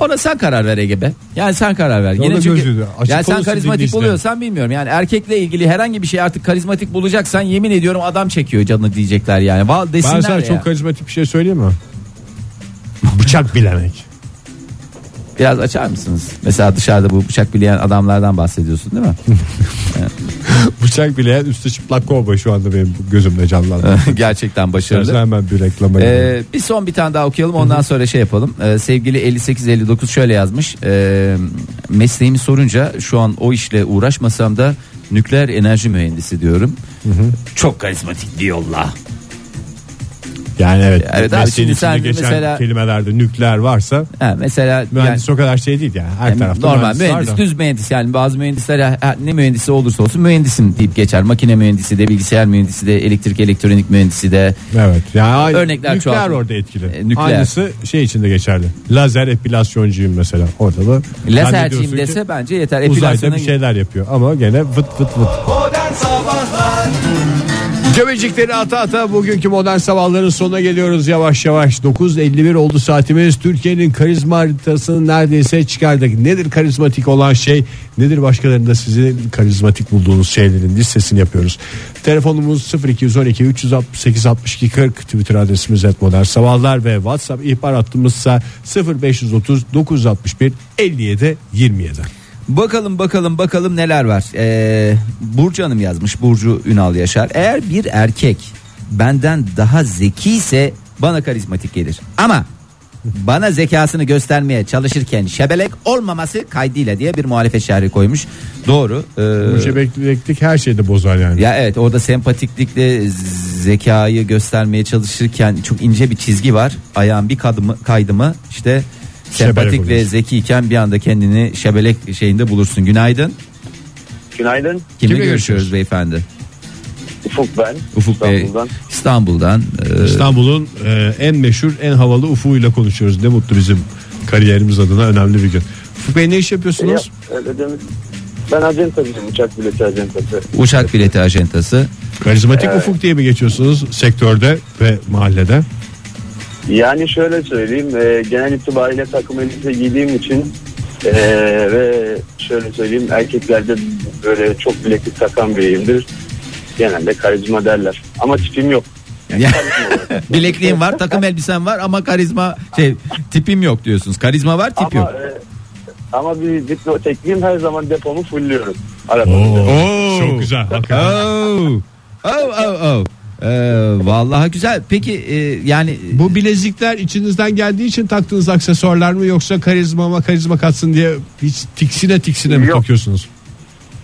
C: Ona sen karar ver Ege be. Yani sen karar ver.
B: Ya o
C: Yine
B: da
C: çünkü
B: gözlüğü. Açık
C: yani sen
B: konuşsun
C: karizmatik
B: dinleyiciler.
C: buluyorsan bilmiyorum. Yani erkekle ilgili herhangi bir şey artık karizmatik bulacaksan yemin ediyorum adam çekiyor canını diyecekler yani. Val desinler
B: ben sana
C: ya.
B: çok karizmatik bir şey söyleyeyim mi? Bıçak bilemek.
C: Biraz açar mısınız? Mesela dışarıda bu bıçak bileyen adamlardan bahsediyorsun değil mi?
B: Bıçak bileyen üstü çıplak kovboy şu anda benim gözümde canlandı.
C: Gerçekten
B: İstersen
C: başarılı.
B: hemen bir reklama yapayım.
C: Ee, bir son bir tane daha okuyalım ondan sonra şey yapalım. Ee, sevgili 5859 şöyle yazmış. Ee, mesleğimi sorunca şu an o işle uğraşmasam da nükleer enerji mühendisi diyorum. Çok karizmatik diyorlar.
B: Yani evet.
C: Evet
B: evet
C: abi,
B: mesleğin
C: şimdi sen
B: içinde geçen
C: mesela-
B: kelimelerde nükleer varsa
C: Ha, mesela yani-
B: mühendis o kadar şey değil yani. Her
C: Yani
B: tarafta
C: normal
B: mühendis var
C: mühendis
B: da.
C: düz mühendis yani bazı mühendisler ha- ha- ne mühendisi olursa olsun mühendisim deyip geçer. Makine mühendisi de bilgisayar mühendisi de elektrik elektronik mühendisi de
B: Evet. Yani
C: Örnekler
B: nükleer
C: çoğaltın.
B: orada etkili.
C: E, nükleer.
B: Aynısı şey içinde geçerli. Lazer epilasyoncuyum mesela. Orada da
C: laserciyim
B: zannediyorsun ki
C: dese bence yeter.
B: uzayda
C: Epilasyona-
B: bir şey- şeyler yapıyor ama gene vıt vıt vıt. Göbecikleri ata ata bugünkü modern sabahların sonuna geliyoruz yavaş yavaş. 9.51 oldu saatimiz. Türkiye'nin karizma haritasını neredeyse çıkardık. Nedir karizmatik olan şey? Nedir başkalarında sizin karizmatik bulduğunuz şeylerin listesini yapıyoruz. Telefonumuz 0212 368 62 40 Twitter adresimiz et modern sabahlar ve WhatsApp ihbar hattımızsa 0530 961 57 27.
C: Bakalım bakalım bakalım neler var. Ee, Burcu Hanım yazmış. Burcu Ünal Yaşar. Eğer bir erkek benden daha zeki ise bana karizmatik gelir. Ama Bana zekasını göstermeye çalışırken şebelek olmaması kaydıyla diye bir muhalefet şerhi koymuş. Doğru. Ee,
B: Mücebeklik her şeyde bozar yani.
C: ya evet orada sempatiklikle zekayı göstermeye çalışırken çok ince bir çizgi var. Ayağın bir kadımı, kaydımı işte
B: Şebelek
C: sempatik ve
B: oluyorsun.
C: zekiyken bir anda kendini şebelek şeyinde bulursun. Günaydın.
D: Günaydın.
C: Kimle,
B: Kimle
C: görüşüyoruz
B: görüşüyoruz?
C: beyefendi?
D: Ufuk ben.
C: Ufuk Bey.
D: İstanbul'dan.
C: İstanbul'dan. Ee,
B: İstanbul'un e, en meşhur, en havalı ufuğuyla konuşuyoruz. Ne mutlu bizim kariyerimiz adına önemli bir gün. Ufuk Bey ne iş
D: Ya,
B: yapıyorsunuz?
D: öyle deme. Ben acentacıyım. Uçak bileti acentası.
C: uçak bileti ajantası.
B: Karizmatik
D: Evet.
B: ufuk diye mi geçiyorsunuz sektörde ve mahallede?
D: Yani şöyle söyleyeyim. e, genel itibariyle takım elbise giydiğim için e, ve şöyle söyleyeyim erkeklerde böyle çok bileklik takan biriyimdir. Genelde karizma derler. Ama tipim yok.
C: Ya- Bilekliğim var, takım elbisem var ama karizma şey tipim yok diyorsunuz. Karizma var, tip
D: ama,
C: yok.
D: e, ama bir diplotekliğim her zaman depomu fullüyorum. Arada.
B: Oo. Çok güzel. hakikaten.
C: Oh. Oh, oh, oh. Ee, vallahi güzel. Peki e, yani
B: Bu bilezikler içinizden geldiği için taktığınız aksesuarlar mı yoksa karizmama karizma katsın diye hiç tiksine tiksine mi
D: Yok.
B: takıyorsunuz?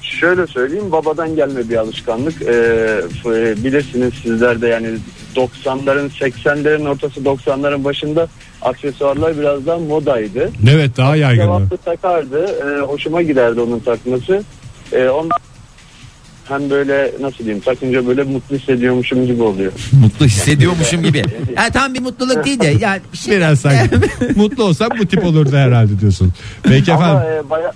D: Şöyle söyleyeyim babadan gelme bir alışkanlık. Ee, f- bilirsiniz sizler de yani 90'ların 80'lerin ortası 90'ların başında aksesuarlar biraz daha modaydı.
B: Evet daha yaygın.
D: Cevaplı takardı. Ee, hoşuma giderdi onun takması. Ee, ondan hem böyle nasıl diyeyim takınca böyle mutlu hissediyormuşum gibi oluyor.
C: mutlu hissediyormuşum gibi. Yani tam bir mutluluk değil de yani bir şey
B: Biraz sanki mutlu olsam bu tip olurdu herhalde diyorsun. Peki efendim.
D: Ama e, baya-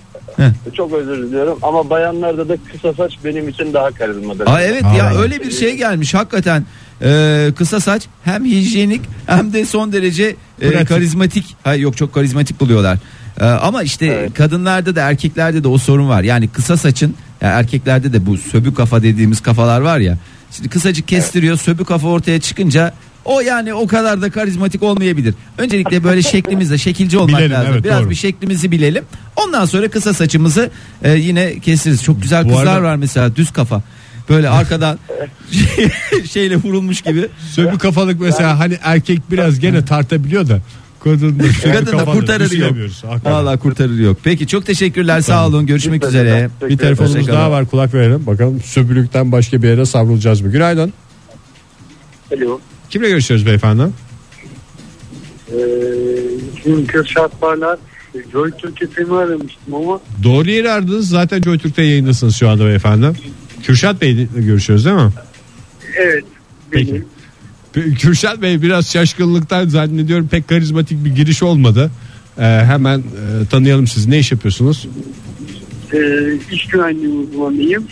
D: çok özür diliyorum ama bayanlarda da kısa saç benim için daha karizmadır.
C: Aa, evet ya
B: Aa.
C: öyle bir şey gelmiş hakikaten. Ee, kısa saç hem hijyenik hem de son derece e,
B: Pratik.
C: karizmatik. Hayır yok çok karizmatik buluyorlar. Ee, ama işte
D: Evet.
C: kadınlarda da erkeklerde de o sorun var. Yani kısa saçın ya erkeklerde de bu söbü kafa dediğimiz kafalar var ya. Şimdi kısacık kestiriyor söbü kafa ortaya çıkınca o yani o kadar da karizmatik olmayabilir. Öncelikle böyle şeklimizle şekilci olmak
B: Bilelim,
C: lazım.
B: evet,
C: Biraz
B: doğru.
C: bir şeklimizi bilelim. Ondan sonra kısa saçımızı e, yine kesiriz. Çok güzel
B: Bu
C: kızlar
B: arada-
C: var mesela düz kafa. Böyle arkadan şeyle vurulmuş gibi.
B: Söbü kafalık mesela hani erkek biraz gene tartabiliyor da kadın da söbü
C: Kadın da
B: kafalı
C: kurtarır yok.
B: düşünemiyoruz. şey Hakikaten.
C: Vallahi kurtarır yok. Peki çok teşekkürler. Sağ olun. Görüşmek
D: Lütfen
C: üzere.
D: efendim.
B: Bir telefonumuz
C: Hoşçakalın.
B: daha var kulak verelim. Bakalım söbülükten başka bir yere savrulacağız mı? Günaydın.
D: Alo.
B: Kimle görüşüyoruz beyefendi?
F: Ee, Şimdi Kürşat Parlar Joy Türk'ü filmi aramıştım ama
B: Doğru yeri aradınız. Zaten Joy Türk'te yayındasınız şu anda beyefendi. Kürşat Bey'le görüşüyoruz değil mi?
F: evet
B: Peki.
F: benim.
B: P- Kürşat Bey biraz şaşkınlıktan zannediyorum pek karizmatik bir giriş olmadı. Ee, hemen e, tanıyalım sizi. Ne iş yapıyorsunuz?
F: Ee, iş güvenliği uzmanıyım.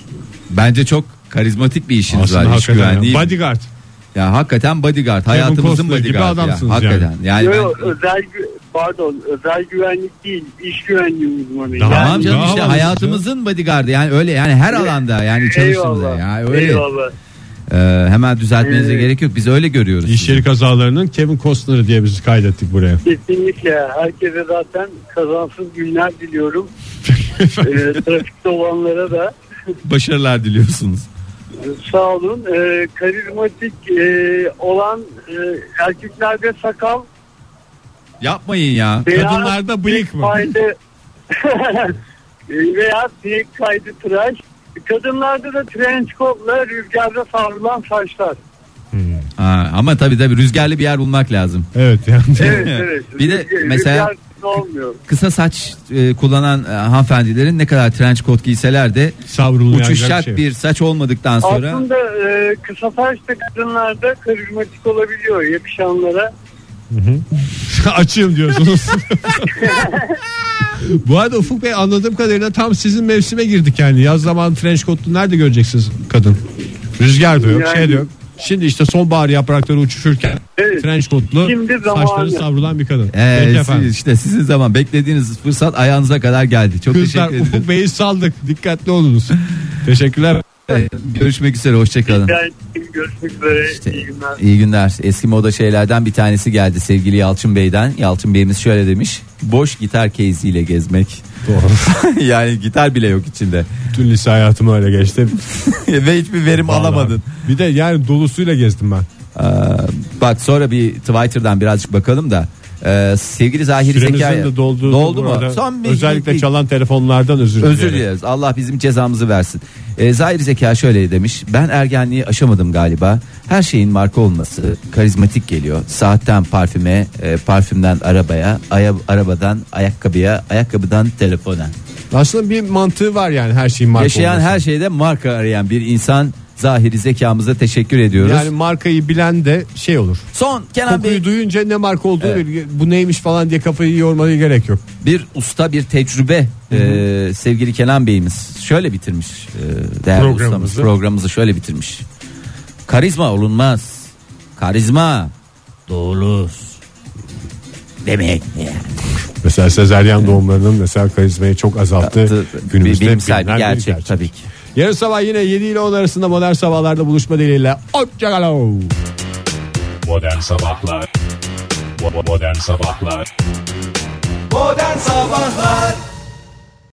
C: Bence çok karizmatik bir işiniz var. İş
B: hakikaten ya.
C: güvenliği.
B: Bodyguard.
C: Ya hakikaten bodyguard. Hayatımızın
B: Costner gibi
C: bodyguard. Ya.
B: adamsınız
C: Hakikaten. Yani.
F: Yo,
C: ben-
F: yo, özel gü- pardon özel güvenlik değil iş güvenliği uzmanıyım.
B: Tamam.
C: Tamam canım
B: Daha
C: işte
B: havalısın.
C: hayatımızın bodyguardı yani öyle yani her alanda yani çalıştığımızda
F: Eyvallah.
C: ya öyle
F: Eyvallah.
C: Ee, hemen düzeltmenize gerek yok biz öyle görüyoruz.
B: İş
C: sizi.
B: yeri kazalarının Kevin Costner'ı diye biz kaydettik buraya.
F: Kesinlikle herkese zaten kazansız günler diliyorum. Ee, trafikte olanlara da e,
C: Başarılar diliyorsunuz.
F: Sağ olun. Ee, karizmatik e, olan e, erkeklerde sakal,
C: Yapmayın ya.
F: beyaz
B: Kadınlarda bıyık mı?
F: kaydı e, veya sinek kaydı tıraş. Kadınlarda da trench coatla rüzgarda savrulan saçlar.
C: Ha, ama tabii tabii rüzgarlı bir yer bulmak lazım.
B: Evet yani.
F: Evet evet.
C: Bir de
F: Rüzgar-
C: mesela-
F: rüzgarsız olmuyor.
C: Kısa saç e, kullanan e, hanımefendilerin ne kadar trench coat giyseler de
B: Savrulmayacak
C: uçuşak
B: şey.
C: bir saç olmadıktan sonra
F: Aslında e, kısa saç da kadınlarda karizmatik olabiliyor yakışanlara.
B: Açığım diyorsunuz. Bu arada Ufuk Bey anladığım kadarıyla tam sizin mevsime girdik yani. Yaz zaman trench coat'lu nerede göreceksiniz kadın? Rüzgar da yok,
F: Yani-
B: şey de yok. Şimdi işte sonbahar yaprakları uçuşurken
F: Evet.
B: trench coat'lu
F: Şimdi zamanı.
B: saçları savrulan bir kadın.
C: e,
B: Peki
C: siz-
B: efendim.
C: işte sizin zaman beklediğiniz fırsat ayağınıza kadar geldi. Çok
B: Kızlar
C: teşekkür ederim.
B: Ufuk Bey'i saldık. Dikkatli olunuz. Teşekkürler.
C: E, Görüşmek üzere hoşçakalın.
F: Yani görüşmek üzere.
C: İşte-
F: İyi günler.
C: İyi günler. Eski moda şeylerden bir tanesi geldi sevgili Yalçın Bey'den. Yalçın Bey'imiz şöyle demiş. Boş gitar keyziyle gezmek. yani gitar bile yok içinde.
B: Tüm lise hayatım öyle geçti.
C: Ve hiçbir verim alamadın.
B: Bir de yani dolusuyla gezdim ben.
C: Ee, bak sonra bir Twitter'dan birazcık bakalım da Ee, sevgili Zahiri
B: Süremizin
C: Zekaya.
B: de doldu.
C: Doldu
B: bu arada.
C: mu? Son bir-
B: Özellikle
C: bir-
B: çalan telefonlardan özür,
C: Özür dileriz. Allah bizim cezamızı versin. Ee, Zahir Zeka şöyle demiş. Ben ergenliği aşamadım galiba. Her şeyin marka olması karizmatik geliyor. Saatten parfüme, e, parfümden arabaya, aya- arabadan ayakkabıya, ayakkabıdan telefona.
B: Aslında bir mantığı var yani her şeyin marka
C: Yaşayan
B: olması.
C: her şeyde marka arayan bir insan Zahiri Zeka'mıza teşekkür ediyoruz.
B: Yani markayı bilen de şey olur.
C: Son Kenan Bey
B: Kokuyu duyunca ne marka olduğunu
C: Evet.
B: biliyor. Bu neymiş falan diye kafayı yormaya gerek yok.
C: bir usta bir tecrübe Ee, sevgili Kenan Bey'imiz şöyle bitirmiş e, değerli
B: Programımızı.
C: ustamız programımızı şöyle bitirmiş. Karizma olunmaz. Karizma doğulur. Demek yani.
B: Mesela sezeryan doğumlarının mesela karizmayı çok azalttı. Günümüzde
C: bilimsel bir
B: bilinen
C: gerçek, tabii ki.
B: Yarın sabah yine 7 ile 10 arasında modern sabahlarda buluşma dileğiyle. Hoşçakalın.
G: Modern Sabahlar Bo- Modern Sabahlar
C: Modern sabahlar.